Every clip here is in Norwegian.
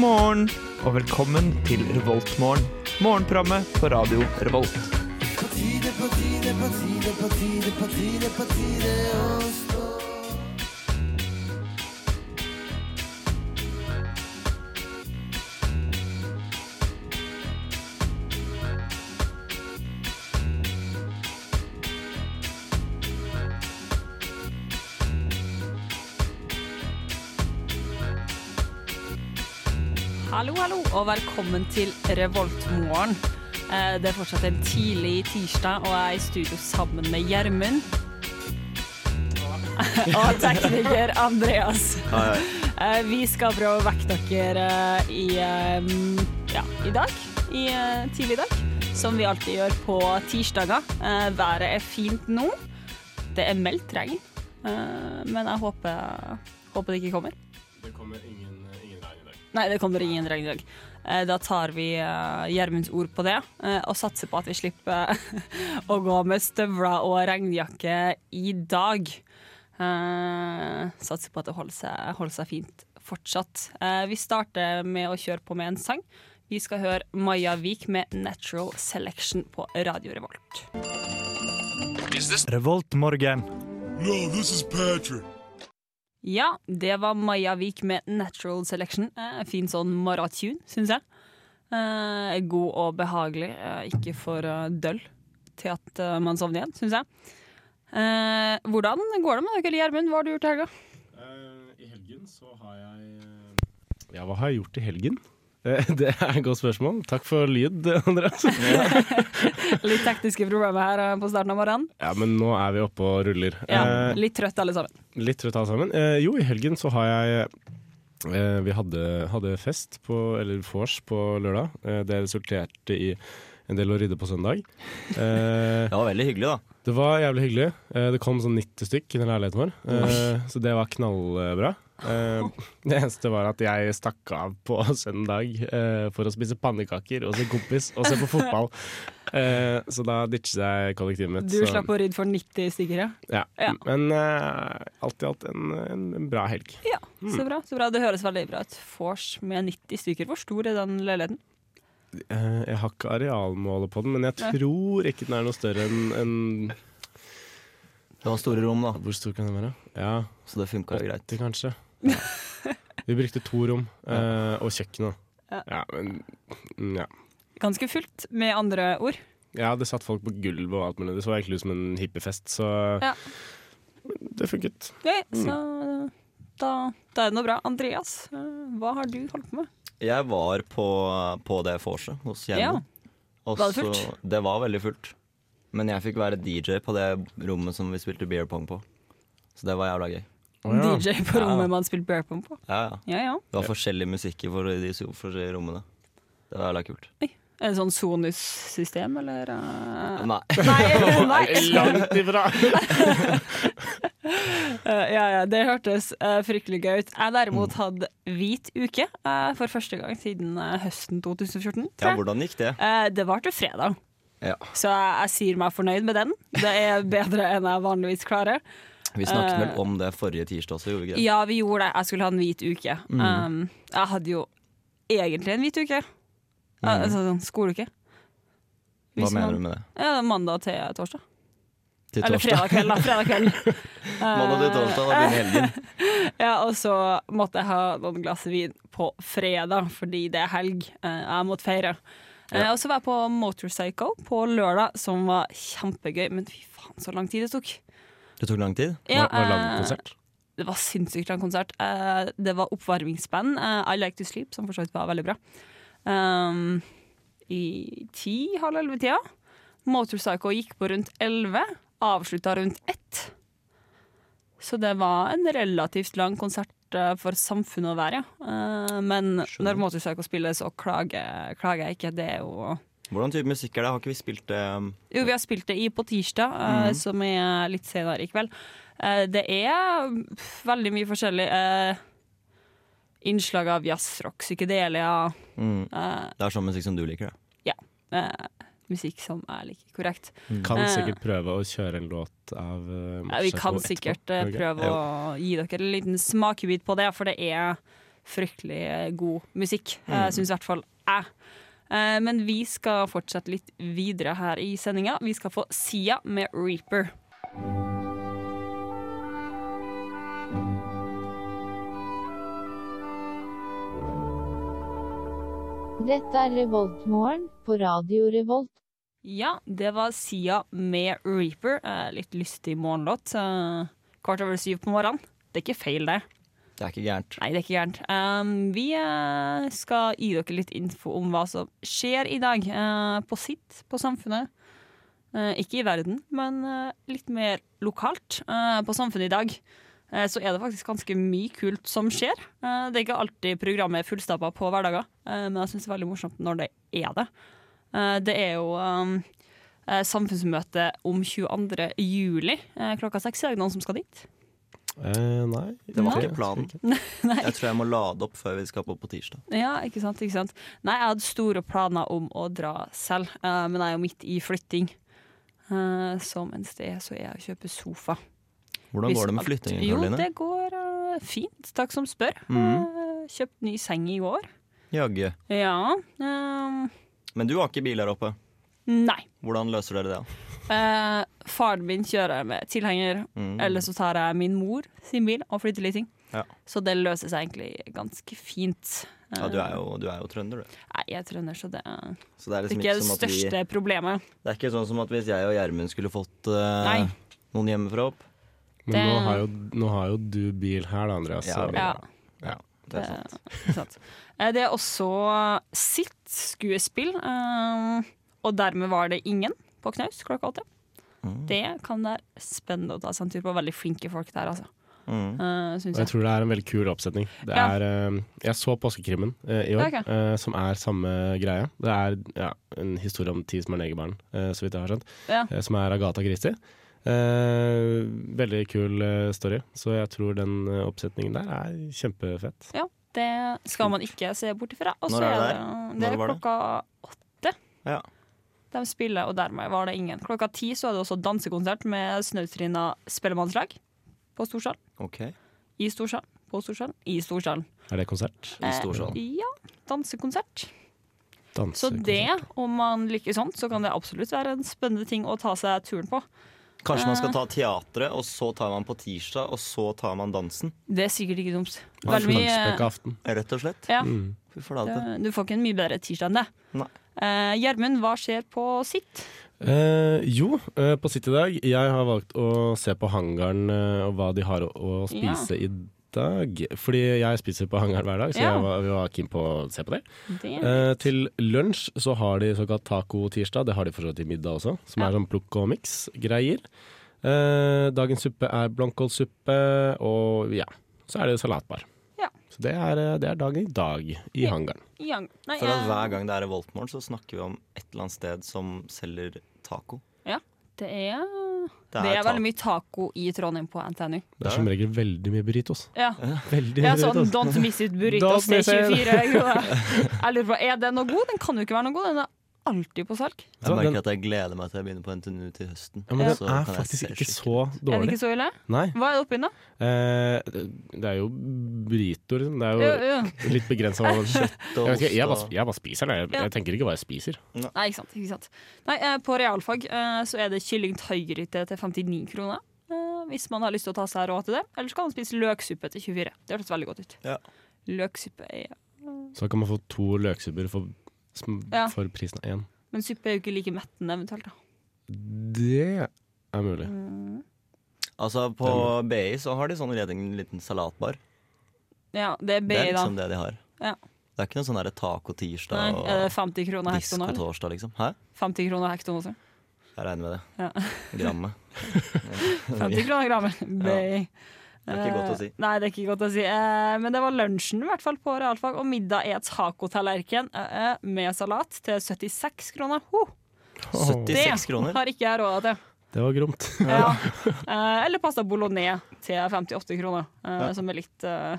morgen, og velkommen til Revoltmorgen. Morgenprogrammet på radio Revolt. Hallo, hallo, og velkommen til Revoltmorgen. Eh, Det er fortsatt en tidlig tirsdag, og jeg er i studio sammen med Gjermund. Og tekniker Andreas. Eh, Vi skal prøve å vekke dere eh, i, eh, ja, i dag. I eh, tidlig dag. Som vi alltid gjør på tirsdager. Eh, Været er fint nå. Det er meldt regn, eh, men jeg håper, håper det ikke kommer. Det kommer ingen, ingen regn i dag. Nei, det kommer ingen regn i dag. Eh, Da tar vi eh, Gjermunds ord på det, eh, og satser på at vi slipper eh, å gå med støvler og regnjakke i dag. Eh, Satser på at det holder seg, holder seg fint fortsatt. Eh, Vi starter med å kjøre på med en sang. Vi skal høre Maja Vik med 'Natural Selection' på Radio Revolt. Revoltmorgen. No, this is Patrick. Ja, det var Maja Vik med Natural Selection. Eh, fin sånn morgentune, syns jeg. Eh, god og behagelig, eh, ikke for eh, døll til at eh, man sovner igjen, syns jeg. Eh, hvordan går det med dere, Gjermund? Hva har du gjort i helga? Eh, I helgen så har jeg eh, Ja, hva har jeg gjort i helgen? Eh, Det er et godt spørsmål. Takk for lyd, Andreas. Litt tekniske problemer her eh, på starten av morgenen. Ja, men nå er vi oppe og ruller. Ja, Eh, litt trøtt alle sammen. Litt trøtt alle sammen. Eh, Jo, i helgen så har jeg eh, Vi hadde, hadde fest på, eller vors på lørdag. Eh, Det resulterte i en del å rydde på søndag. Eh, Det var veldig hyggelig, da. Det var jævlig hyggelig. Eh, Det kom sånn 90 stykk i den leiligheten vår, Eh, så det var knallbra. Eh, Det eneste var at jeg stakk av på søndag eh, for å spise pannekaker og se kompis og se på fotball. Eh, Så da ditchet jeg kollektivet mitt. Du så- slapp å rydde for 90 stykker, ja. ja. Ja. Men eh, alt i alt en, en, en bra helg. Ja, så bra. så bra. Det høres veldig bra ut. Vors med 90 stykker. Hvor stor er den leiligheten? Eh, Jeg har ikke arealmålet på den, men jeg Nei. tror ikke den er noe større enn enn- Det var store rom, da, Hvor stor kan den være? Ja, så det funka jo greit. 80 kanskje. Vi brukte to rom eh, og kjøkkenet. Ja. Ja, men mm, ja. Ganske fullt, med andre ord. ja, det satt folk på gulvet og alt mulig. Det så egentlig ut som en hippiefest, så Ja. det funket. Ja, Mm. så da, da er det noe bra. Andreas, eh, hva har du holdt på med? Jeg var på, på det vorset hos Ja. Gjermund. Og Var det så- fullt? Det var veldig fullt. Men jeg fikk være DJ på det rommet som vi spilte beer pong på. Så det var jævla gøy. DJ på Ja. rommet man spilte bear pump på. Ja, ja. Ja, ja. Det var forskjellig musikk i for de so- forskjellige rommene. Det var jævla kult. Er det sånn Sonus-system, eller? eh? Nei. Nei, nei. Langt ifra! Eh, ja, ja, det hørtes eh, fryktelig gøy ut. Jeg derimot hadde hvit uke eh, for første gang siden eh, høsten 2014. tror Ja, jeg. hvordan gikk det? Eh, det var til fredag, Ja. så jeg, jeg sier meg fornøyd med den. Det er bedre enn jeg vanligvis klarer. Vi snakket vel om det forrige tirsdag også, gjorde vi ikke det? Eh. Ja, vi gjorde det. Jeg skulle ha en hvit uke. Mm. Um, jeg hadde jo egentlig en hvit uke. Al- Altså sånn skoleuke. Mm. Hva Hvis mener man- du med det? Ja, mandag til torsdag. Til Eller torsdag? fredag kveld, da. Fredag kveld. Eh, Mandag til torsdag, da begynner helgen. Ja, og så måtte jeg ha noen glass vin på fredag, fordi det er helg. Eh, Jeg måtte feire. Eh, Og så var jeg på Motorcycle på lørdag, som var kjempegøy. Men fy faen, så lang tid det tok. Det tok lang tid? Ja, Var- var det eh, langkonsert? mm. det var sinnssykt lang konsert. Eh, det var oppvarmingsband. eh, I Like To Sleep, som for så vidt var veldig bra. Um, I ti, halv elleve-tida. Motorcycle gikk på rundt elleve. Avslutta rundt ett. Så det var en relativt lang konsert eh, for samfunnet å være, ja. Eh, men når Motorcycle spiller, så klager, klager jeg ikke. Det er jo Hvordan type musikk er det? Har ikke vi spilt det um, jo, vi har spilt det i på tirsdag, eh, som er litt senere i kveld. Eh, det er pff, veldig mye forskjellig. eh, innslag av jazzrock, psykedelia, mm, eh, Det er sånn musikk som du liker, det. eh, musikk som er like korrekt. Kan eh, sikkert prøve å kjøre en låt av eh, uh, Ja, vi kan sikkert eh, prøve å gi dere en liten smakebit på det, for det er fryktelig god musikk. Mm. Syns i hvert fall jeg. Eh, Men vi skal fortsette litt videre her i sendinga. Vi skal få Sia med 'Reaper'. Dette er Revoltmorgen på Radio Revolt. Ja, det var Sia med 'Reaper'. Eh, Litt lystig morgenlåt. Eh, Kvart over syv på morgenen. Det er ikke feil, det. Det er ikke gærent. Nei, det er ikke gærent. Ehm, vi eh, skal gi dere litt info om hva som skjer i dag. eh, på sitt, på samfunnet. Eh, ikke i verden, men eh, litt mer lokalt. Eh, på samfunnet i dag eh, så er det faktisk ganske mye kult som skjer. Eh, det er ikke alltid programmet er fullstappa på hverdager, eh, men jeg syns det er veldig morsomt når det er det. Eh, det er jo ehm, eh, samfunnsmøte om 22. juli eh, klokka seks. Er det noen som skal dit? Eh, nei. Det var Nei. ikke planen. Nei. Jeg tror jeg må lade opp før vi skal på på tirsdag. Ja, ikke sant, ikke sant. Nei, jeg hadde store planer om å dra selv, eh, men jeg er jo midt i flytting. Eh, så mens det er, så er jeg og kjøper sofa. Hvordan Hvis går det med alt- flyttingen, Mm. Jo, Karoline? det går eh, fint. Takk som spør. Eh, kjøpt ny seng i går. Jaggu. Ja. eh, Men du har ikke bil her oppe. nei. Hvordan løser dere det? Eh, faren min kjører med tilhenger, Mm. eller så tar jeg min mor sin bil og flytter litt ting. Ja. Så det løser seg egentlig ganske fint. Eh, Ja, du er jo, du er jo trønder, du. Nei, jeg er trønder, så det er Så det er liksom ikke ikke, det som at vi største problemet. Det er ikke sånn som at hvis jeg og Gjermund skulle fått eh, Nei. noen hjemmefra opp. Men Det- nå har, jo, nå har jo du bil her, da, Andreas. Ja, så- vi- Ja. Det er sant. Ikke sant. Eh, Det er også sitt skuespill, eh, og dermed var det ingen på knaus klokka åtte. Mm. Det kan være spennende å ta seg en tur på. Veldig flinke folk der, altså. Mm. Uh, Og Syns Jeg jeg. tror det er en veldig kul oppsetning. Det Ja. er, eh, jeg så Påskekrimmen eh, i år, Ok. eh, som er samme greie. Det er ja, en historie om ti som er negerbarn, eh, så vidt jeg har skjønt, Ja. eh, som er Agatha Christie. Eh, veldig kul eh, story, så jeg tror den eh, oppsetningen der er kjempefett. ja, det skal man ikke se bort ifra. Og så Når er er det det, det er Når var det? klokka åtte Ja. de spiller, og dermed var det ingen. Klokka ti så er det også dansekonsert med Snautrina spellemannslag på Storsalen. OK. I Storsalen. På Storsalen. I Storsalen. Er det konsert? I Storsalen. Eh, ja. Dansekonsert. Så Dansekonsert? det, om man liker sånt, så kan det absolutt være en spennende ting å ta seg turen på. Kanskje man skal ta teatret, og så tar man på tirsdag, og så tar man dansen. Det er sikkert ikke dumt. Ja, Veldig eh, mye Flaggspekka aften. Rett og slett. ja, Mm. Fy flate. det- Du får ikke en mye bedre tirsdag enn det. Nei. Eh, Gjermund, hva skjer på sitt? Eh, jo, eh, på sitt i dag. Jeg har valgt å se på hangaren eh, og hva de har å, å spise i dag. Fordi jeg spiser på hangaren hver dag, så Ja. jeg var, vi var keen på å se på det. Det. Eh, til lunsj så har de såkalt taco-tirsdag. Det har de for så vidt i middag også, som Ja. er sånn plukk og miks-greier. Eh, dagens suppe er blomkålsuppe, og ja, så er det salatbar. Ja. Så det er, eh, det er dagen i dag i Ja. hangaren. Yang. Nei, For at eh, hver gang det er Revoltmorgen, så snakker vi om et eller annet sted som selger taco. det er, Det det er ta- veldig mye taco i Trondheim på NTNU. Det er som regel veldig mye burritos. Ja. Veldig Ja, mye sånn burritos. Don't miss it burritos Don't til miss it. 24 kroner. Jeg lurer på, Er den noe god? Den kan jo ikke være noe god. Den er alltid på salg. Jeg Så den- merker at jeg gleder meg til jeg begynner på NTNU til høsten. Ja, men Så den er kan jeg se faktisk ikke skikkelig. så Er det dårlig. ikke så ille? Nei. Hva er det oppi den, da? Eh, det er jo burrito, liksom. Det er Jo, jo jo. litt begrensa hva man og Jeg, vet ikke, ost jeg, bare, og- jeg bare spiser det. Jeg, Ja. jeg tenker ikke hva jeg spiser. Nei, ikke sant. Ikke sant. Nei, eh, på realfag eh, så er det kylling thaigryte til 59 kroner. eh, Hvis man har lyst til å ta seg råd til det. Eller så kan man spise løksuppe til 24. Det hørtes veldig godt ut. Ja. Løksuppe er Så kan man få to løksubber for, sm- Ja. for prisen av én. Men suppe er jo ikke like mettende, eventuelt. da Det er mulig. Altså, på BI så har de sånn redning, en liten salatbar. Ja, det er Det er BI, da. liksom det de har. Ja. Det er ikke noe sånn der Nei, taco-tirsdag er det og 50 kroner hekton nå? eller? disko-torsdag, liksom. Hæ? 50 kroner hekton også? Jeg regner med det. Ja. Grammet. 50 kroner grammet. BI. Det er ikke godt å si. Eh, Nei, det er ikke godt å si. Eh, Men det var lunsjen i hvert fall på realfag, og middag er tacotallerken eh, eh, med salat til 76 kroner. Ho! Det 76 kroner. har ikke jeg råd til. Det var gromt. Ja. Eh, Eller pasta bolognese til 58 kroner, eh, som er litt, eh,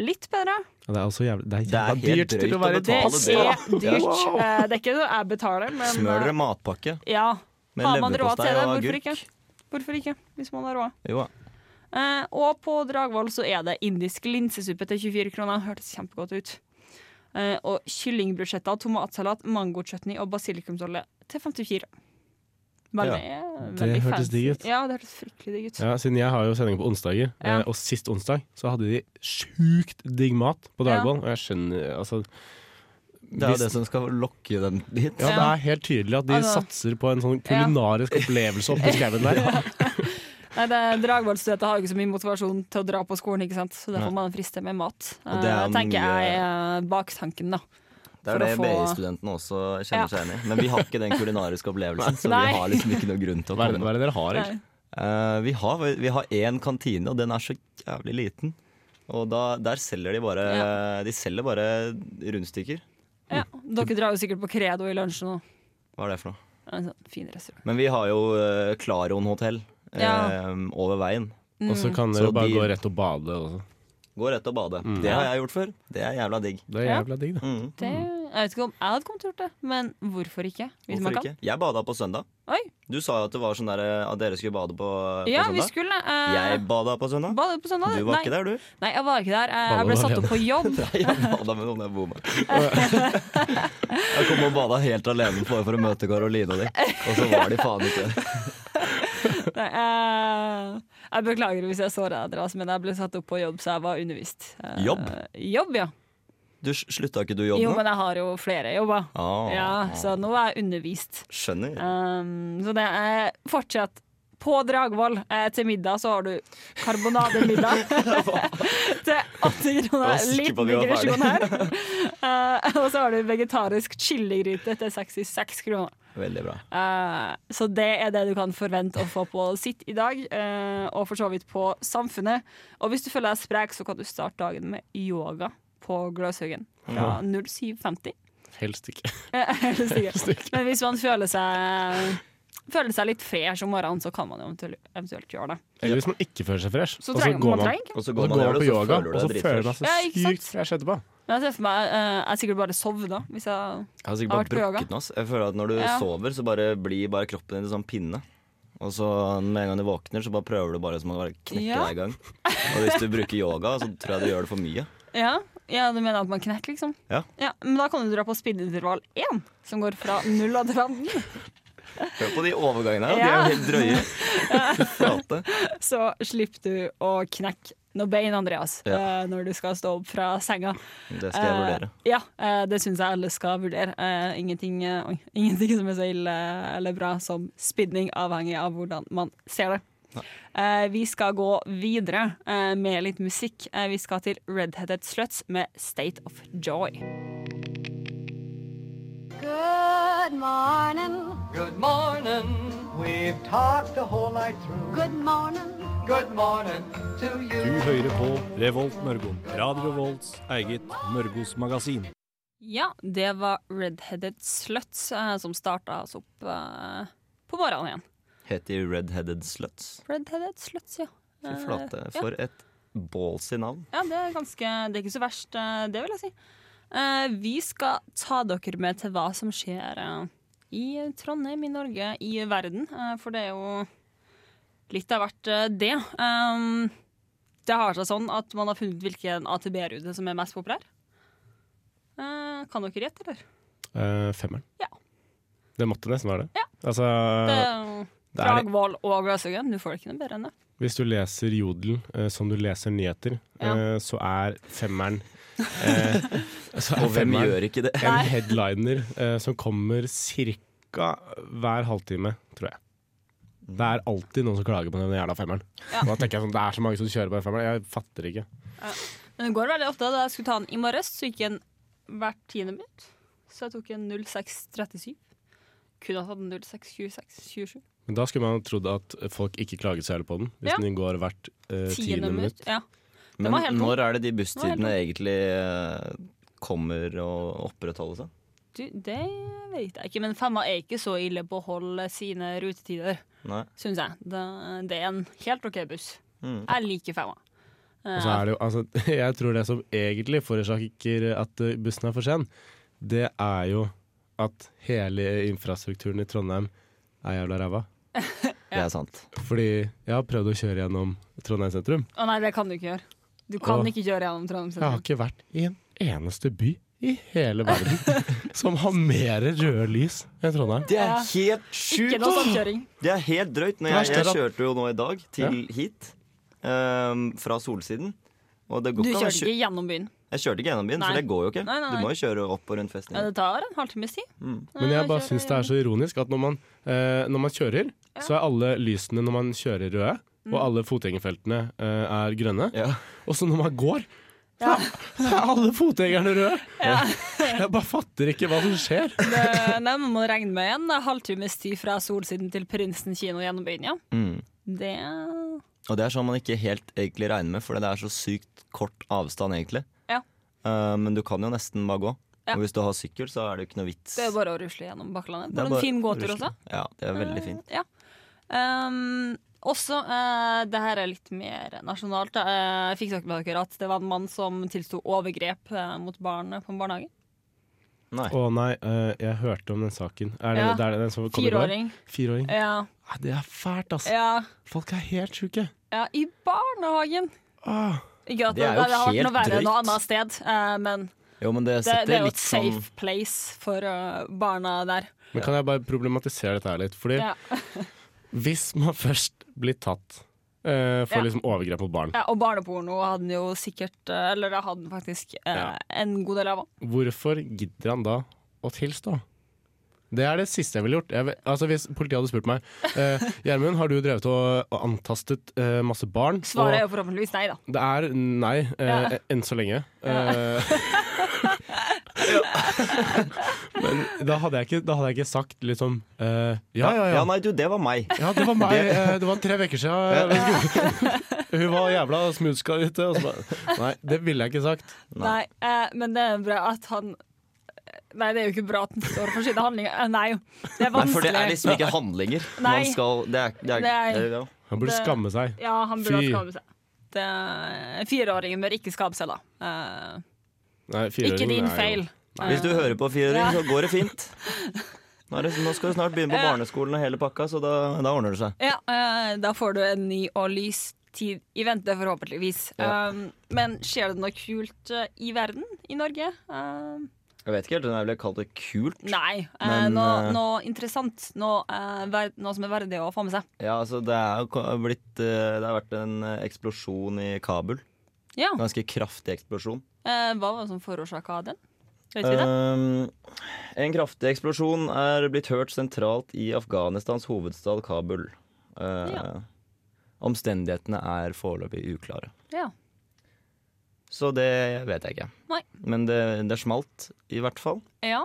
litt bedre. Ja, Det er også jævlig Det er, Det er jævla helt dyrt til drøyt å å være Det betale er det, da. dyrt. Eh, Det er ikke noe jeg betaler, men Smør dere eh, matpakke ja. med Har man råd til leverpostei det, og hvorfor ikke? agurk. Hvorfor ikke, hvis man har råd? Jo da. Eh, og på Dragvoll så er det indisk linsesuppe til 24 kroner. Hørtes kjempegodt ut. Eh, og kyllingbrusjetter, tomatsalat, mangochutney og basilikumsolje til 54. Veldig, eh, veldig Det hørtes fancy. digg ut. Ja, det hørtes fryktelig digg ut. Ja, siden jeg har jo sending på onsdager, Ja. eh, og sist onsdag så hadde de sjukt digg mat på Ja. Dagvoll. Og jeg skjønner altså Det er hvis- jo det som skal lokke dem dit. ja, Ja. det er helt tydelig at de Altså- satser på en sånn kulinarisk opplevelse oppi skauen der. Nei, det Dragvoll-studenter har jo ikke så mye motivasjon til å dra på skolen, ikke sant? så det Nei. får man friste med mat. Og det er Eh, tenker mye- jeg er baktanken, da. For Det er å det få- BI-studentene også Ja. kjenner seg enig i. Men vi har ikke den kulinariske opplevelsen, så Nei. vi har liksom ikke noe grunn til å Hva er det, hva komme. er det dere har, Nei. egentlig? Eh, vi, har, vi har én kantine, og den er så jævlig liten. Og da, der selger de bare De selger bare rundstykker. Ja, dere drar jo sikkert på Credo i lunsjen nå. Hva er det for noe? En sånn fin restaurant. Men vi har jo eh, Claron hotell eh, Ja. over veien. Og Mm. så kan Så dere bare de- gå rett og sånn. bade. Også. Gå rett og bade. Det har jeg gjort før. Det er jævla digg. Det er Ja. jævla digg, det. Mm. Det, jeg vet ikke om jeg hadde kommet til å gjort det, men hvorfor ikke? Hvis man Hvorfor kan. ikke? Jeg bada på søndag. Oi. Du sa jo at det var sånn der, eh, at dere skulle bade på, på Ja, vi søndag. skulle. eh, Jeg bada på søndag. badet på søndag. Du var nei, ikke der, du. Nei, jeg var ikke der. Eh, Jeg Badet ble var satt opp på jobb. Nei, jeg bada med noen jeg bor med. Jeg kom og bada helt alene for, for å møte Karoline og de, og så var de faen ikke der. Nei, eh, jeg beklager hvis jeg såra dere, altså, men jeg ble satt opp på jobb, så jeg var undervist. Eh, Jobb? Jobb, ja. Du s- slutta ikke du Jo, jobben? men jeg har jo flere jobber. Ah, Ja, så nå er jeg undervist. Skjønner. Um, så det er fortsatt på Dragvoll eh, til middag så har du karbonademiddag til 80 var kroner. sikker på Liten at vi var digresjon her. Eh, og så har du vegetarisk chiligryte til 66 kroner. Veldig bra. Eh, så det er det du kan forvente å få på sitt i dag, eh, og for så vidt på Samfunnet. Og hvis du føler deg sprek, så kan du starte dagen med yoga på Gløshaugen fra 07.50. Helst ikke. Eh, helt sikkert. Men hvis man føler seg Føler seg litt fresh om morgenen, så kan man jo eventuelt, eventuelt gjøre det. Eller hvis man ikke føler seg fresh, Så og så trenger går man man, trenger ikke. Og så og så går man går over, man på og yoga, så føler og du så deg føler man dritfresh. seg Ja, ikke sant? sykt fresh etterpå. Men jeg ser for meg eh, Jeg sikkert bare sovna hvis jeg Jeg har sikkert Har vært bare på yoga. brukket den. ass. Jeg føler at Når du Ja. sover, så bare blir bare kroppen din en sånn pinne. Og så med en gang du våkner, så bare prøver du bare som å bare knekke Ja. deg i gang. Og hvis du bruker yoga, så tror jeg du gjør det for mye. Ja, ja du mener at man knekker, liksom? Ja. Men da kan du dra på spillintervall 1, som går fra 0 og 13. Hør på de overgangene her, de er Ja. jo helt drøye. Fy flate. så slipper du å knekke noen bein, Andreas, Ja. eh, når du skal stå opp fra senga. Det skal jeg Eh, vurdere. ja, eh, det syns jeg alle skal vurdere. Eh, ingenting, eh, oi, ingenting som er så ille eller bra som spinning, avhengig av hvordan man ser det. Eh, vi skal gå videre eh, med litt musikk. Eh, vi skal til Redheaded Sluts med State of Joy. Good morning. Good morning. We've talked the whole night through. Good morning. Good morning to you. Du hører på Revolt Mørgo. Radio Revolts eget Mørgos magasin. Ja, det var Redheaded Sluts eh, som starta oss opp eh, på morgenen igjen. Het de Redheaded Sluts? Redheaded Sluts, ja. Fy Eh, flate. ja. For et ballsy navn. Ja, det er ganske Det er ikke så verst, eh, det vil jeg si. Eh, Vi skal ta dere med til hva som skjer eh, i Trondheim, i Norge, i verden. eh, For det er jo litt av hvert, eh, det. Um, Det har seg sånn at man har funnet ut hvilken AtB-rute som er mest populær. Eh, Kan dere gjette, eller? Eh, femmeren. Ja. Det måtte nesten være det. Ja. Altså, Det er jo det er, Dragvoll og Gløshaugen. Du får det ikke noe bedre enn det. hvis du leser Jodel eh, som du leser nyheter, Ja. eh, så er femmeren eh, så er Og hvem femmeren gjør ikke det? en headliner eh, som kommer ca. hver halvtime, tror jeg. Mm. Det er alltid noen som klager på den jævla femmeren. Og da tenker jeg sånn, Det er så mange som kjører på den femmeren. Jeg fatter ikke. Men det går veldig ofte. Da jeg skulle ta den i morges, så gikk den hvert tiende minutt. Så jeg tok en 0637. Kunne ha tatt en 0626. 27. Men Da skulle man trodd at folk ikke klaget så jævlig på den, hvis Ja. den går hvert eh, Tiende minutt. Ja. Men var helt tom. når er det de busstidene tom. egentlig eh, kommer og opprettholdes? da? Du, det vet jeg ikke, men femma er ikke så ille på å holde sine rutetider, Nei. syns jeg. Det, det er en helt OK buss. Mm. Jeg liker femma. Og så er det jo, altså, jeg tror det som egentlig forårsaker at eh, bussen er for sen, det er jo at hele infrastrukturen i Trondheim er jævla ræva. Det er sant. Fordi jeg har prøvd å kjøre gjennom Trondheim sentrum. Eh, Å nei, det kan du ikke gjøre. Du kan Åh. ikke kjøre gjennom Trondheim Jeg har sentrum. ikke vært i en eneste by i hele verden som har mer røde lys enn Trondheim. Det er Ja. helt Ikke sjukt! noe sånn ass. samkjøring. Det er helt drøyt. Når jeg, Verst er jeg at- kjørte jo nå i dag til hit ehm, fra Solsiden. Og det Du går ikke kjørte an. Jeg, kjør, ikke gjennom byen. jeg kjørte ikke gjennom byen, Nei. for det går jo ikke. Nei, nei, Du nei. må jo kjøre opp og rundt Ja, festningen. det tar en halvtimes tid. Mm. Men jeg bare syns det er så ironisk at når man, eh, når man kjører, så er alle lysene når man kjører røde, og alle fotgjengerfeltene eh, er grønne. Ja. Og så når man går, så er- så er alle fotgjengerne røde! Jeg bare fatter ikke hva som skjer. det, Eh, nei, man må regne med en halvtimes tid fra Solsiden til Prinsen kino gjennom byen, ja. Mm. Det Og det er sånn man ikke helt egentlig regner med, for det er så sykt kort avstand, egentlig. Ja. Eh, men du kan jo nesten bare gå. Ja. Og hvis du har sykkel, så er det jo ikke noe vits. det er bare å rusle gjennom Bakklandet. Det er Bare en bare fin gåtur rusle. også. Mm. Ja, det er veldig fint. Ja. Ehm, også, eh, det her er litt mer nasjonalt. da. Eh, fikk dere med dere at det var en mann som tilsto overgrep eh, mot barn på en barnehage? Nei. Å nei, eh, jeg hørte om den saken. Er det, Ja. det er den som kom i går? Fireåring. Fireåring. Ja, Nei, Det er fælt, altså. ja, Folk er helt sjuke. ja, i barnehagen! Ah. Ikke at Det det, det, er jo har vært noe helt verre noe drøyt. annet sted, eh, men Jo, men det det, setter det er jo litt et sånn safe place for eh, barna der. Men kan jeg bare problematisere dette her litt? Fordi Ja. hvis man først blir tatt eh, for Ja. liksom overgrep mot barn, Ja, og barneporno hadde han jo sikkert eh, Eller det hadde han faktisk eh, Ja. en god del av. hvorfor gidder han da å tilstå? Det er det siste jeg ville gjort. Jeg, vil- altså Hvis politiet hadde spurt meg eh, Gjermund, har du drevet og, og antastet eh, masse barn? Svaret er og jo forhåpentligvis nei, da. det er nei, eh, Ja. enn så lenge. Eh, Men da hadde jeg ikke, da hadde jeg ikke sagt liksom eh, ja, ja, ja. nei, du, det var meg. Ja, det var meg. eh, Det var tre uker siden. jeg vet ikke. Hun var jævla smoothskallete. og så bare- Nei, det ville jeg ikke sagt. Nei, eh, men det er bra at han Nei, det er jo ikke bra at han står for sine handlinger. Eh, Nei, det er Nei, for vanskelig. det er liksom ikke handlinger. Nei. Man skal Det er, det er, Nei. det er ja. Han burde Det- skamme seg. Ja, han burde Fy. skape seg. Det, fireåringen bør ikke skape seg, da. Eh, Nei, ikke din feil. Hvis du hører på Ja. fireåring, så går det fint. Nå, er det, nå skal du snart begynne på Ja. barneskolen og hele pakka, så da, da ordner det seg. Ja, eh, da får du en ny og lys tid i vente, forhåpentligvis. Ja. Um, men skjer det noe kult eh, i verden? I Norge? Um, Jeg vet ikke helt, den er vel kalt det kult. nei. eh, Men, noe, eh, noe interessant. Noe, eh, ver noe som er verdig å få med seg. Ja, altså det er jo ko- blitt eh, Det har vært en eh, eksplosjon i Kabul. Ja, Ganske kraftig eksplosjon. eh, Hva var det som forårsaka den? Vet vi det? Um, en kraftig eksplosjon er blitt hørt sentralt i Afghanistans hovedstad Kabul. Uh, Ja. Omstendighetene er foreløpig uklare. Ja. Så det vet jeg ikke. Nei. Men det, det smalt, i hvert fall. ja,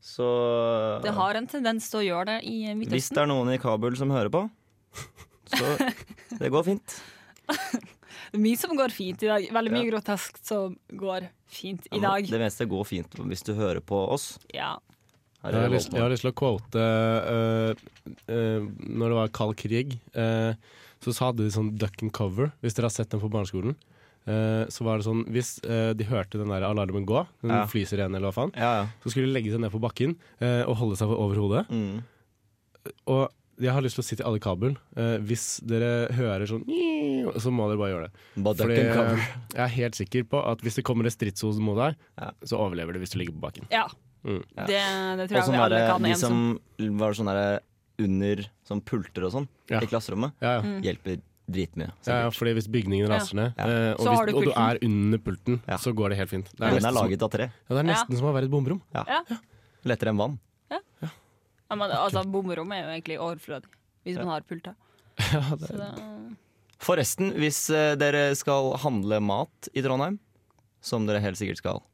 Så det har en tendens til å gjøre det i hvis Midtøsten. det er noen i Kabul som hører på, så det går fint. Mye som går fint i dag. Veldig mye Ja. groteskt som går fint i Ja, men dag. Det meste går fint hvis du hører på oss. Ja. Her Jeg har, er lyst, jeg har lyst til å quote uh, Når det var kald krig, eh, så sa de sånn duck and cover, hvis dere har sett den på barneskolen. Eh, så var det sånn, Hvis eh, de hørte den der alarmen gå, den Ja. flysirenen eller hva faen, Ja, ja. så skulle de legge seg ned på bakken eh, og holde seg over hodet. Mm. Og jeg har lyst til å si til alle i Kabul eh, Hvis dere hører sånn Så må dere bare gjøre det Bare duck Fordi and cover. jeg er helt sikker på at hvis det kommer et stridshode mot deg Ja. Så overlever du hvis du ligger på bakken ja. Mm. Ja. Det, det tror Og jeg som vi var alle det kan de enes om. som var sånn der under sånn pulter og sånn Ja. i klasserommet, ja, ja. Mm. hjelper dritmye. ja, ja, sikkert. fordi hvis bygningen raser ned Ja. eh, og, Så har hvis, du og du pulten. er under pulten Ja. Så går det helt fint Det Men er Den er nesten, som, laget av tre. ja, det er nesten som å være i et bomrom Ja. Lettere enn vann. Ja, men altså, Bommerommet er jo egentlig overflødig, hvis man har pulta. ja, det, Så det, Forresten, hvis eh, dere skal handle mat i Trondheim, som dere helt sikkert skal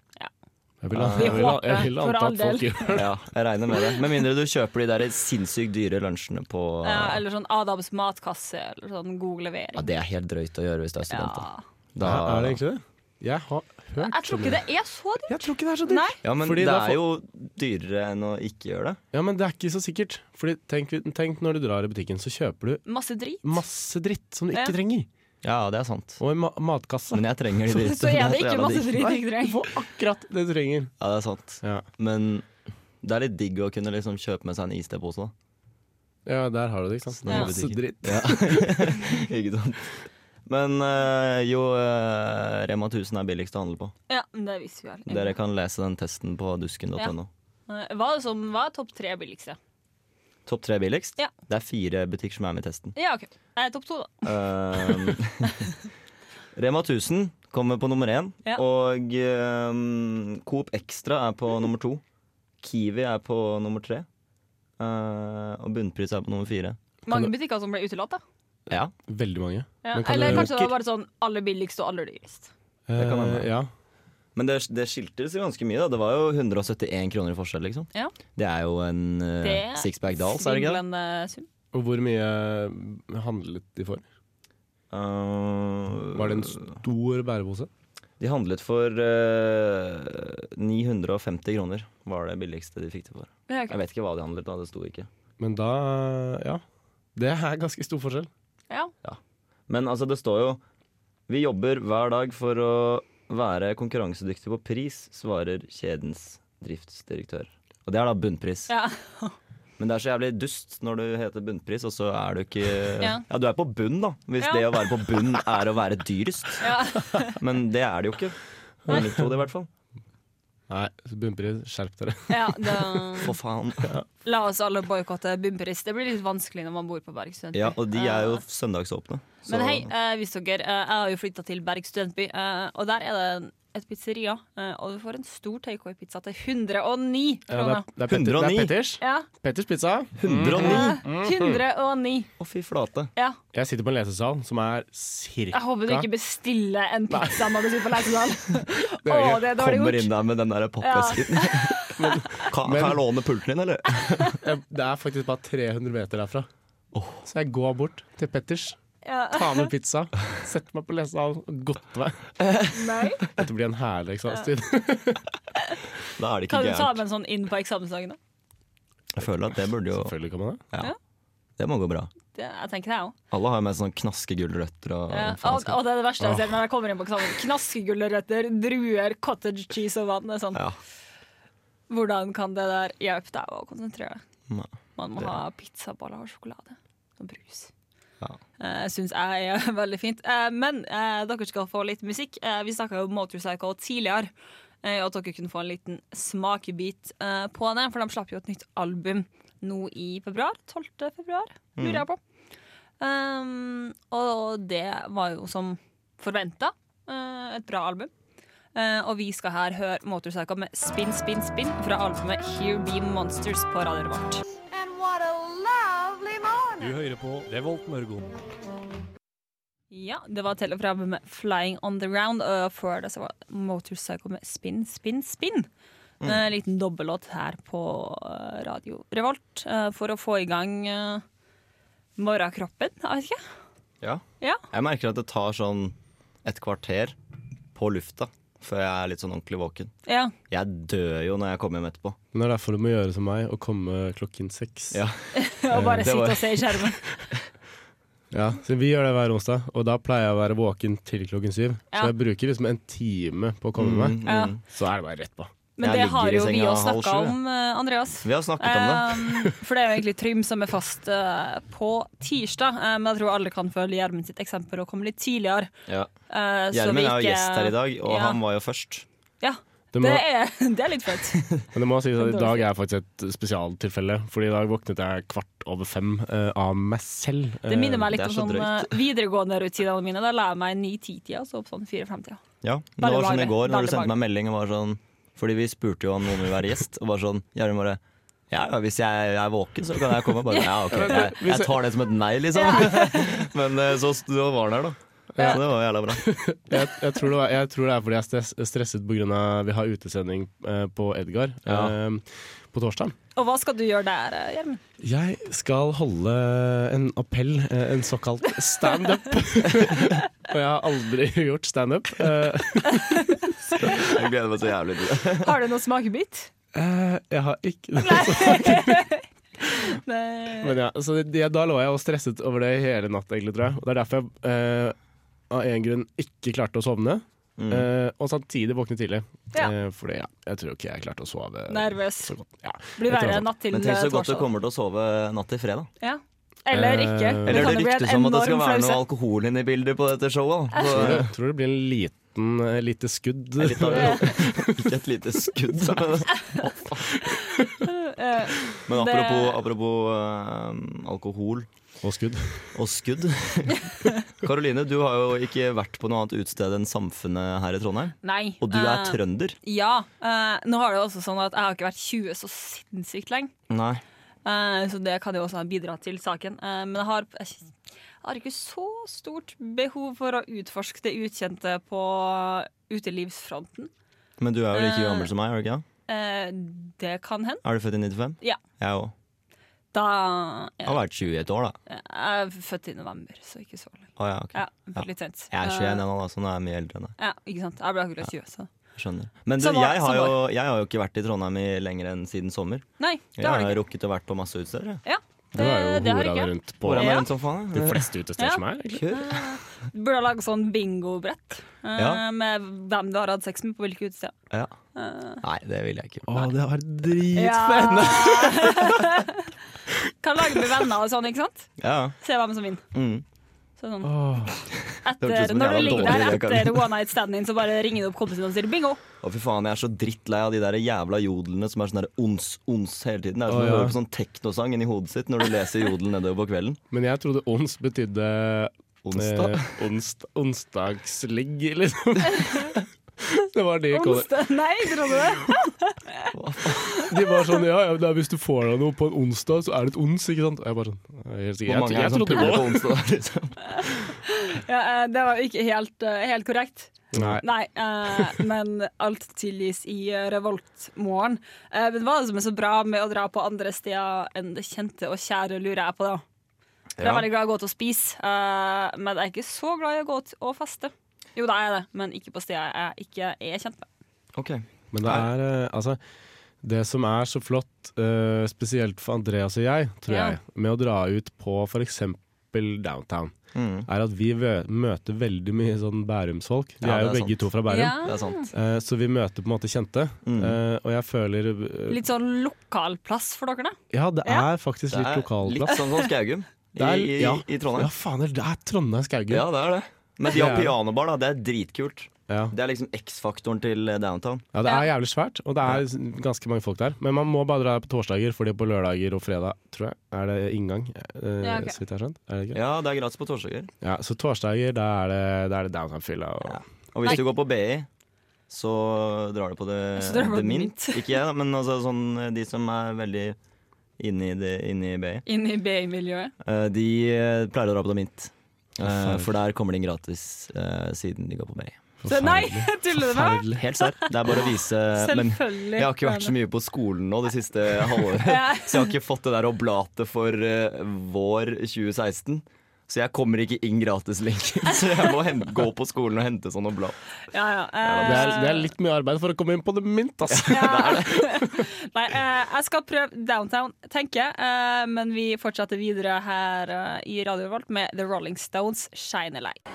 jeg vil, Vi jeg vil, jeg håper, vil for anta all at folk del. gjør det Ja, jeg regner med det. Med mindre du kjøper de der sinnssykt dyre lunsjene på ja, eller sånn Adams matkasse, eller sånn god levering. Ja, det er helt drøyt å gjøre hvis du er student. da. Ja. Da, ja, Er det egentlig det? Jeg har hørt Jeg tror så ikke mye. det er så dyrt. Jeg tror ikke det er så dyrt Nei. Ja, men Fordi det da får- er jo dyrere enn å ikke gjøre det. Ja, men det er ikke så sikkert Fordi tenk, tenk når du drar i butikken Så kjøper du Masse drit. masse dritt som du Ja. ikke trenger Ja, det er sant. Og en ma matkasse. Men jeg trenger de dyreste. Så er det ikke jævla masse dyrt. drit jeg Du trenger. får akkurat det du trenger. Ja, det er sant. Ja. Men det er litt digg å kunne liksom kjøpe med seg en iste-pose, da. Ja, der har du det, ikke sant. Ja. Masse dritt. Ja. ikke sant. Men eh, jo, eh, Rema 1000 er billigst å handle på. Ja, men det visste vi vel. egentlig. Dere kan lese den testen på dusken.no. Eh, Hva er det som var topp tre billigste? Topp tre billigst? Ja. Det er fire butikker som er med i testen. Ja, OK. Eh, topp to, da. Ehm, Rema 1000 kommer på nummer én, Ja. og ehm, Coop Extra er på nummer to. Kiwi er på nummer tre. eh, og Bunnpris er på nummer fire. Mange Kan butikker som ble utelatt, da. Ja, Veldig mange. Ja. Men kan Eller du- kanskje det var bare sånn aller billigst og aller dyrest. Det kan hende. Eh, Ja. Men det, det skiltes jo ganske mye. da Det var jo 171 kroner i forskjell. liksom Ja. Det er jo en eh, Det- sixpack Dahls, er det ikke det? Svimlende sum. Og hvor mye handlet de for? Eh, Var det en stor bærepose? De handlet for eh, 950 kroner, var det billigste de fikk det for. Ja, ok. Jeg vet ikke hva de handlet, da, det sto ikke. Men da Ja. Det er ganske stor forskjell. Ja. Men altså, det står jo Vi jobber hver dag for å være konkurransedyktige på pris, svarer kjedens driftsdirektør. Og det er da bunnpris. Ja. Men det er så jævlig dust når du heter bunnpris, og så er du ikke Ja, Ja. du er på bunn, da. Hvis Ja. det å være på bunn er å være dyrest. Men det er det jo ikke. Jeg likte det i hvert fall. Nei, så bunnpris, skjerp dere. ja da. For faen. La oss alle boikotte Bunnpris. Det blir litt vanskelig når man bor på Berg studentby. Ja, og de er jo søndagsåpne. så- Men hei, eh, hvis dere eh, Jeg har jo flytta til Berg studentby, eh, og der er det en- et pizzeria. eh, og du får en stor takeaway-pizza til 109 Ja, kroner. det, er, det, er Petter, det 109. er Petters. Ja, Petters pizza. 109! Eh, 109. Å, fy flate. Ja. Jeg sitter på en lesesal som er cirka Jeg håper du ikke bestiller en pizza når du sitter på Leitedal. Det er Å, gøy. det er dårlig Kommer gjort. inn der med den der pappesken. kan, kan jeg låne pulten din, eller? Jeg- Eh, Det er faktisk bare 300 meter derfra. Så jeg går bort til Petters, Ja. tar med pizza, setter meg på lesesalen og godter meg. Nei. Dette blir en herlig eksamenstid. Da er det ikke Kan du ta gærent. med en sånn inn på eksamensdagen? da? Jeg føler at det burde jo Selvfølgelig kan man det. Det må gå bra. Det- Jeg tenker det, jeg òg. Alle har jo med sånn knaskegulrøtter og Ja, og, faenskap. og det er det verste jeg ser når jeg kommer inn på eksamen. Knaskegulrøtter, druer, cottage cheese og vann. Det er sånn. Ja. Hvordan kan det der hjelpe deg å konsentrere deg? Nei. Man må Det- ha pizzaboller og sjokolade og brus. Ja. Eh, Syns jeg er veldig fint. Eh, Men eh, dere skal få litt musikk. Eh, Vi snakka jo om Motorcycle tidligere, eh, og at dere kunne få en liten smakebit eh, på det. For de slapp jo et nytt album nå i februar. 12. februar, Mm. lurer jeg på. Um, og det var jo som forventa eh, et bra album. Eh, og vi skal her høre Motorcycle med Spin, Spin, Spin fra albumet Here Be Monsters på radioen vårt. And what a lovely Du morning. hører på Revolt Mørgo. Ja, det var til og fra albumet Flying On The Ground, og før det så var det Motorcycle med Spin, Spin, Spin. Mm. En eh, liten dobbellåt her på eh, Radio Revolt eh, for å få i gang eh, morgenkroppen. Jeg vet ikke. Ja. Ja. Jeg merker at det tar sånn et kvarter på lufta før jeg er litt sånn ordentlig våken. Ja. Jeg dør jo når jeg kommer hjem etterpå. Men det er derfor du må gjøre som meg og komme klokken seks. Ja. Og bare Eh, det sitte var- og se i skjermen. Ja, så Vi gjør det hver onsdag, og da pleier jeg å være våken til klokken syv. Ja. Så jeg bruker liksom en time på å komme meg. Mm, Ja. mm. Så er det bare rett på. Men Jeg det ligger i har jo vi senga òg halv snakka sju, om, eh, Andreas. Vi har snakket om det. Um, for det er jo egentlig Trym som er fast eh, på tirsdag, eh, men jeg tror alle kan følge Gjermund sitt eksempel og komme litt tidligere. Ja. eh, så vi Gjermund er jo ikke- gjest her i dag, og Ja. han var jo først. Ja, Det må, det er, det er litt fett. men det må sies at Det i er dag er faktisk et spesialtilfelle, Fordi i dag våknet jeg kvart over fem eh, av meg selv. Det minner meg litt det er om så sånn drøyt. eh, videregående rutinene mine. Da la jeg meg 9-10-tida, så opp sånn 4-5-tida. Ja, men Veldig det var sånn i vage, går når veldig du sendte vage. meg melding og var sånn Fordi vi spurte jo om noen vil være gjest, og bare sånn Gjermund bare ja, ja, hvis jeg er våken, så kan jeg komme. Bare, ja, ok, jeg, jeg tar det som et nei, liksom. Men eh, så st- så var han her, da. Så det var jo jævla bra. Eh, jeg, jeg, tror det var, jeg tror det er fordi jeg er stress, stresset pga. vi har utesending eh, på Edgar Ja. eh, på torsdag. Og hva skal du gjøre der, eh, Gjermund? Jeg skal holde en appell, eh, en såkalt standup. Og jeg har aldri gjort standup. Eh, Jeg gleder meg så jævlig til det. Har du noen smakebit? eh, jeg har ikke Nei. Men ja, så det, det- Da lå jeg og stresset over det hele natt, egentlig, tror jeg. Og det er derfor jeg eh, av en grunn ikke klarte å sovne. Mm. eh, og samtidig våkne tidlig. Ja. Eh, fordi ja, jeg tror ikke jeg klarte å sove Nervøs. så godt. Ja. Blir Jeg tror verre altså- natt til eh, Men tenk så godt du torsdag. kommer til å sove natt til fredag. Ja. Eller ikke. Eh, det Eller kan det jo bli en ryktes om at det skal enorm være noe flause. alkohol inne i bildet på dette showet. da. Tror Så, det, tror det blir en liten, eh, lite skudd. litt av ikke et lite skudd. Men, Eh, men Det- apropos, apropos eh, alkohol og skudd. og skudd. Karoline, du har jo ikke vært på noe annet utested enn Samfunnet her i Trondheim. Nei. Og du er Eh, trønder. Ja. eh, nå har det jo også sånn at jeg har ikke vært 20 så sinnssykt lenge. Nei. Eh, så det kan jo også ha bidratt til saken. Eh, men jeg har, jeg har ikke så stort behov for å utforske det ukjente på utelivsfronten. Men du er jo like Eh. gammel som meg, er du ikke? det? Eh, det kan hende. Er du født i 95? Ja. Jeg òg. Da jeg, Har vært 20 i et år, da. jeg er født i november, så ikke så lenge. Å, ja, ok. Ja, litt sent. Jeg er 21 Eh, ennå, da, så nå er jeg mye eldre enn deg. ja, ikke sant. Jeg ble akkurat 20, så Jeg Skjønner. Men du, Samme år, jeg, har samme jo, jeg har jo ikke vært i Trondheim i lenger enn siden sommer. Nei, det Jeg har har du ikke. rukket å vært på masse utesteder. jeg. Ja, Du har jo det har hora jeg deg ikke. rundt på Hvor er man Ja. rundt som faen? de jeg? fleste utesteder Ja. som er. egentlig. Kjør. Du burde ha lagd sånn bingobrett eh, Ja. med hvem du har hatt sex med på hvilke utesteder. Ja. Nei, det vil jeg ikke. Å, det har dritfett! kan lage med venner og sånn, ikke sant? Ja. Se hvem som vinner. Mm. Så sånn. Åh. hørtes ut etter, som en når du jævla ligger dårlig der idé, etter one night standen din, så bare ringer du opp kompisen din og sier bingo. Å, fy faen, jeg er så drittlei av de der jævla jodlene som er sånn der ons, ons hele tiden. Det er som Å, å ja. høre på sånn teknosang inni hodet sitt når du leser jodel nedover på kvelden. Men jeg trodde ons betydde Onsdag. Eh, onst, onsdagsligg, liksom. det var de jeg kaller- Onsdag? Nei, tror du det? De var sånn ja, ja, det er hvis du får deg noe på en onsdag, så er det et ons, ikke sant? Og jeg bare sånn jeg er helt sikker. Hvor mange er Jeg, jeg det som trodde det puler på var onsdag? Liksom? Ja, eh, det var ikke helt, eh, helt korrekt. Nei. Nei, eh, men alt tilgis i eh, revoltmorgen. Eh, men hva er det som er så bra med å dra på andre steder enn det kjente og kjære, lurer jeg på da. For Jeg er veldig glad i å gå til å spise, eh, men jeg er ikke så glad i å gå til å feste. Jo, da er jeg det, men ikke på steder jeg ikke er kjent med. Ok. Men det er eh, altså Det som er så flott, eh, spesielt for Andreas og jeg, tror Ja. jeg, med å dra ut på f.eks. downtown, Mm. er at vi vø- møter veldig mye sånn Bærumsfolk. Vi Ja, er jo det er begge sant. to fra Bærum. Det er sant. Eh, Så vi møter på en måte kjente, Mm. Eh, og jeg føler eh, Litt sånn lokalplass for dere, da. Ja, det Ja. er faktisk Det litt er litt lokalplass. sånn som Skaugum i, Det er- i, ja. i Ja, Trondheim. faen, det er Trondheim Skaugen. Ja, Ja. det er det. Men de har Det er- pianobar, da. Det er dritkult. Ja. Det er liksom X-faktoren til eh, downtown. det er jævlig svært, og det er s- ganske mange folk der. Men man må bare dra på torsdager, fordi på lørdager og fredag tror jeg, er det inngang. eh, Ja, ok. Så vidt jeg har skjønt. Er det ikke? Ja, det er gratis på torsdager. Ja, så torsdager, da er det, da er det downtown-fylla. og- Ja. Og hvis du går på BI, så drar du på det, Så drar det du på mint. Mint. Ikke jeg, da, men altså sånn eh, de som er veldig inne i, det, inne i BI. Inn i BI-miljøet. eh, De eh, pleier å dra på det mint. Eh, faen. For der kommer det inn gratis eh, siden de går på BI. Så nei, Forferdelig. tuller du med meg? Forferdelig. Helt serr. Det er bare å vise men Selvfølgelig. jeg har ikke vært så mye på skolen nå det siste halvåret, Ja. så jeg har ikke fått det der oblatet for eh, vår 2016. Så jeg kommer ikke inn gratis lenger, så jeg må hen- gå på skolen og hente sånn oblat. Ja, ja. eh, Det er, det er litt mye arbeid for å komme inn på det mynt, ass. ja. Nei, eh, jeg skal prøve Downtown, tenker jeg. eh, men vi fortsetter videre her eh, i Radio Revolt med The Rolling Stones' Shine a Light.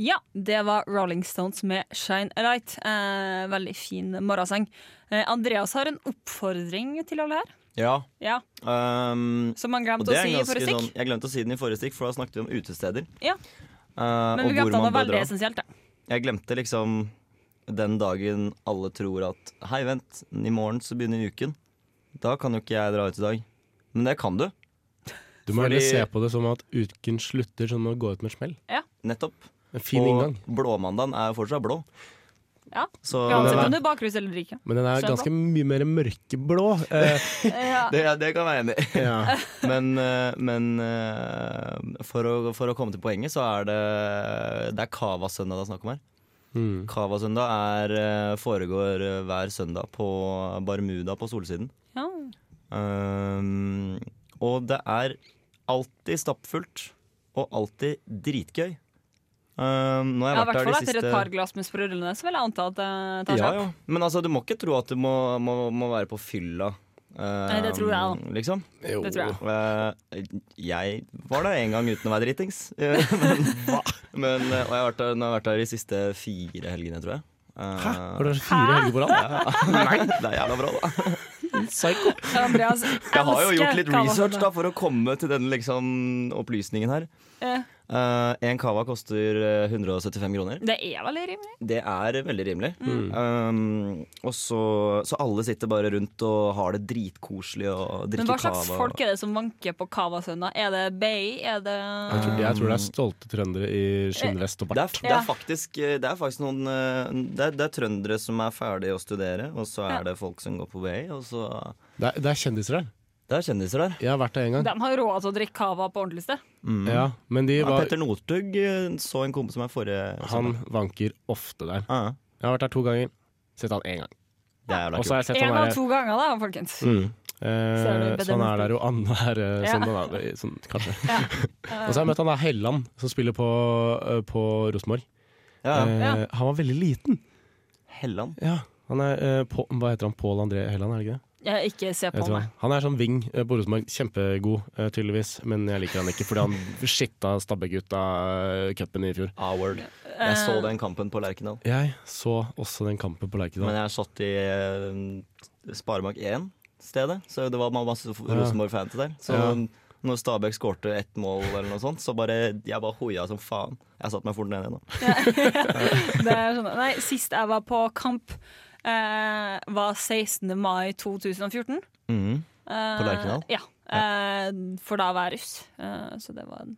Ja, det var Rolling Stones med Shine a Light. Eh, veldig fin morgensang. Eh, Andreas har en oppfordring til alle her, Ja. Ja, Um, som han og glemte å det er si i ganske forrige sånn stikk. Jeg glemte å si den i forrige stikk, for da snakket vi om utesteder. Ja. Eh, Men og vi hvor glemte han man var bør veldig dra. essensielt. da. Jeg glemte liksom den dagen alle tror at Hei, vent, i morgen så begynner uken. Da kan jo ikke jeg dra ut i dag. Men det kan du. Du må Fordi- heller se på det som at uken slutter sånn med å gå ut med et smell. Nettopp. En fin og inngang. blåmandagen er jo fortsatt blå. Ja. Så Uansett om du er bakrus eller ikke. Men den er Skjønner. ganske mye mer mørkeblå. Eh, det, det kan jeg være enig i. ja. Men, eh, men eh, for, å, for å komme til poenget, så er det Det er Cava-søndag det er snakk om her. Mm. Cava-søndag er, eh, foregår eh, hver søndag på Barmuda på Solsiden. Ja. Um, og det er alltid stappfullt, og alltid dritgøy. Um, nå har jeg Ja, I vært hvert der fall de etter siste et par glass med sprudlende, så vil jeg anta at det tar seg ja, opp. ja. Men altså, du må ikke tro at du må, må, må være på fylla Nei, det tror jeg da. Liksom. Jo. Det tror jeg. Eh, jeg var der en gang uten å være dritings. Eh, men, men, eh, og jeg har vært der, nå har jeg vært der de siste fire helgene, tror jeg. Hæ? Har du vært fire helger på rad? Nei, det er jævla bra, da. Psycho. Andreas Jeg har jo elsker gjort litt kava. research da for å komme til denne liksom, opplysningen her. Eh, Eh, en cava koster eh, 175 kroner. Det er veldig rimelig. Det er veldig rimelig. Mm. Um, og så, så alle sitter bare rundt og har det dritkoselig og drikker Men hva slags cava. folk er det som vanker på Cava-søndag? Er det Bay? Er det Jeg tror, jeg tror det er stolte trøndere i skinnvest og Det bart. er, det, Ja. er faktisk, det er faktisk noen eh, det er, det er trøndere som er ferdig å studere, og så er det folk som går på BI, og så Det er, det er kjendiser der. Det er kjendiser der. Mm. Jeg har vært der en gang. De har råd til å drikke Cava på ordentlig sted. Ja, men de Ja, var Petter Northug eh, så en kompis som er forrige Han vanker ofte der. Ja, ja. Jeg har vært der to ganger. Sett han én gang. Det er jævla Og så har jeg sett En han av der to ganger, da, folkens. Mm. Eh, er det så han er bedre der jo annenhver eh, Ja. søndag, da. i- Sånn, kanskje. Og så har jeg møtt han der Helland, som spiller på, eh, på Rosenborg. kult. Ja, ja. Eh, Ja. Han var veldig liten. Helland. Ja, han er, eh, På- hva heter han? Pål André Helland, er det ikke det? Jeg ikke se Jeg på vet hva. meg. Han er sånn wing eh, på Rosenborg. Kjempegod, eh, tydeligvis. Men jeg liker han ikke, fordi han skitta Stabæk ut av eh, cupen i fjor. Howard. Ah, Jeg så den kampen på Lerkendal. Jeg så også den kampen på Men Lerkendal. jeg satt i eh, Sparebank 1 stedet, så det var masse Rosenborg-fans der. Så Ja. når Stabæk skårte ett mål eller noe sånt, så bare Jeg bare hoia som faen. Jeg satte meg fort ned igjen nå. Det er sånn, nei, sist jeg var på kamp, eh, var 16. mai 2014. Mhm. Eh, På Lerkendal? Ja. Eh, for da var jeg russ. Eh, så det var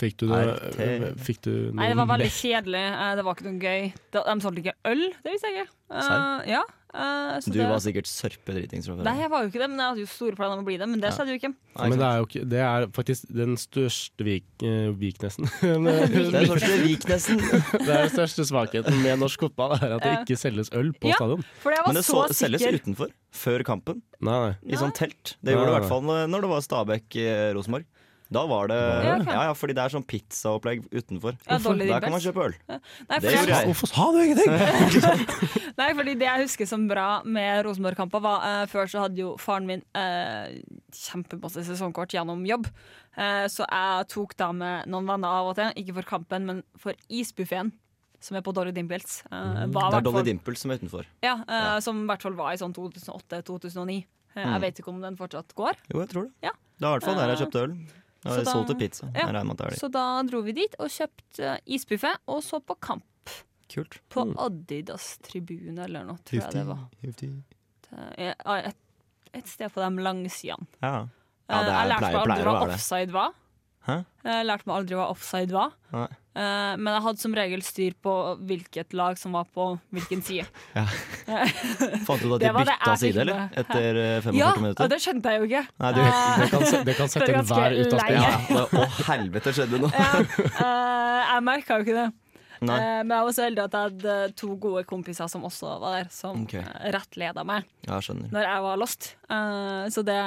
Fikk du, det, eh, RT. fikk du Nei, det var noen veldig kjedelig. Eh, det var ikke noe gøy. De, de solgte ikke øl, det visste jeg ikke. Serr? Eh, ja. eh, så Du det, var sikkert sørpedritings fra før. Nei, jeg var jo ikke det, men jeg hadde jo store planer om å bli det. Men det skjedde jo ikke. Nei, ikke men det sant? er jo ikke Det er faktisk den største vik, eh, viknessen. Det er den første Viknesen. Det er den største svakheten med norsk fotball, er at det ikke selges øl på Ja. stadion. For jeg var Men det så, så, selges sikker. utenfor. Før kampen. Nei, nei. I sånn telt. Det gjorde det i hvert fall når det var Stabæk-Rosenborg. Da var det Ja, ok. Ja, ja, fordi det er sånn pizzaopplegg utenfor. Ja, Dolly Dimples. Der kan man kjøpe øl. Nei, for Det jeg- gjorde jeg. Hvorfor sa du ingenting?! Nei, fordi det jeg husker som bra med Rosenborg-kamper, var eh, før så hadde jo faren min eh, kjempemasse sesongkort gjennom jobb. Eh, så jeg tok da med noen venner av og til, ikke for kampen, men for isbuffeen. Som er på Dolly Dimples. Eh, var Mm, Det er hvertfall- Dolly Dimples som er utenfor. ja, eh, Som i hvert fall var i sånn 2008-2009. Eh, Mm. Jeg vet ikke om den fortsatt går. Jo, jeg tror det. Ja. Eh, Det er i hvert fall der jeg kjøpte øl. så Jeg da- solgte pizza. Ja. Jeg regner med at det er det. Så da dro vi dit og kjøpte eh, isbuffé, og så på kamp. Kult. På Adidas-tribune eller noe, tror jeg det var. Eh, Et, et sted på de langsidene. Ja. Eh, Ja, det er, jeg lærte meg pleier, aldri pleier å hva være det. offside var. Hæ? Jeg lærte meg aldri hva offside var. Nei. Eh, men jeg hadde som regel styr på hvilket lag som var på hvilken side. Fant du ut at Det de var det bytta jeg side, fikk eller? med. Etter eh, 45 Ja, og minutter? det skjønte jeg jo ikke. Eh, Nei, du, Det kan, se- det kan sette Det er ganske enhver ut av lei. spill. ja, det, å, helvete skjedde nå! Ja, eh, jeg merka jo ikke det. Nei. Eh, men jeg var så heldig at jeg hadde to gode kompiser som også var der, som Ok. eh, rettleda meg Ja, jeg skjønner. når jeg var lost. Eh, så det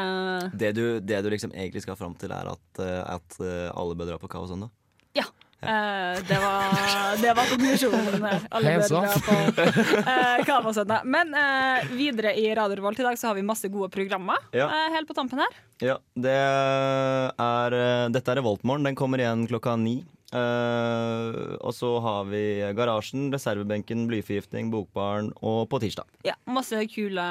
Det du, det du liksom egentlig skal fram til, er at, eh, at eh, alle bør dra på Kao søndag? Ja. Eh, det, var, det var konklusjonen. der. Alle bør Hands dra off. på, eh, Kavasøndag. Men eh, videre i Radio Revolt i dag så har vi masse gode programmer Ja. eh, helt på tampen her. Ja, det er eh, Dette er Revoltmorgen. Den kommer igjen klokka ni. Eh, og så har vi Garasjen, Reservebenken, Blyforgiftning, Bokbaren og På tirsdag. Ja, masse kule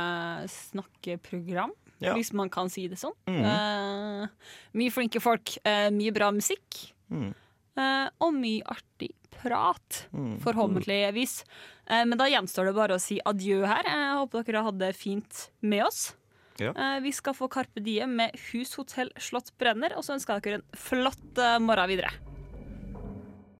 snakkeprogram, Ja. Mm. hvis man kan si det sånn. Eh, mye flinke folk, eh, mye bra musikk. Mm. eh, og mye artig prat, forhåpentligvis. Eh, men da gjenstår det bare å si adjø her. Eh, Jeg håper dere hadde det fint med oss. Ja. Eh, vi skal få Carpe Diem med Hus, hotell, slott, brenner. Og så ønsker jeg dere en flott eh, morgen videre.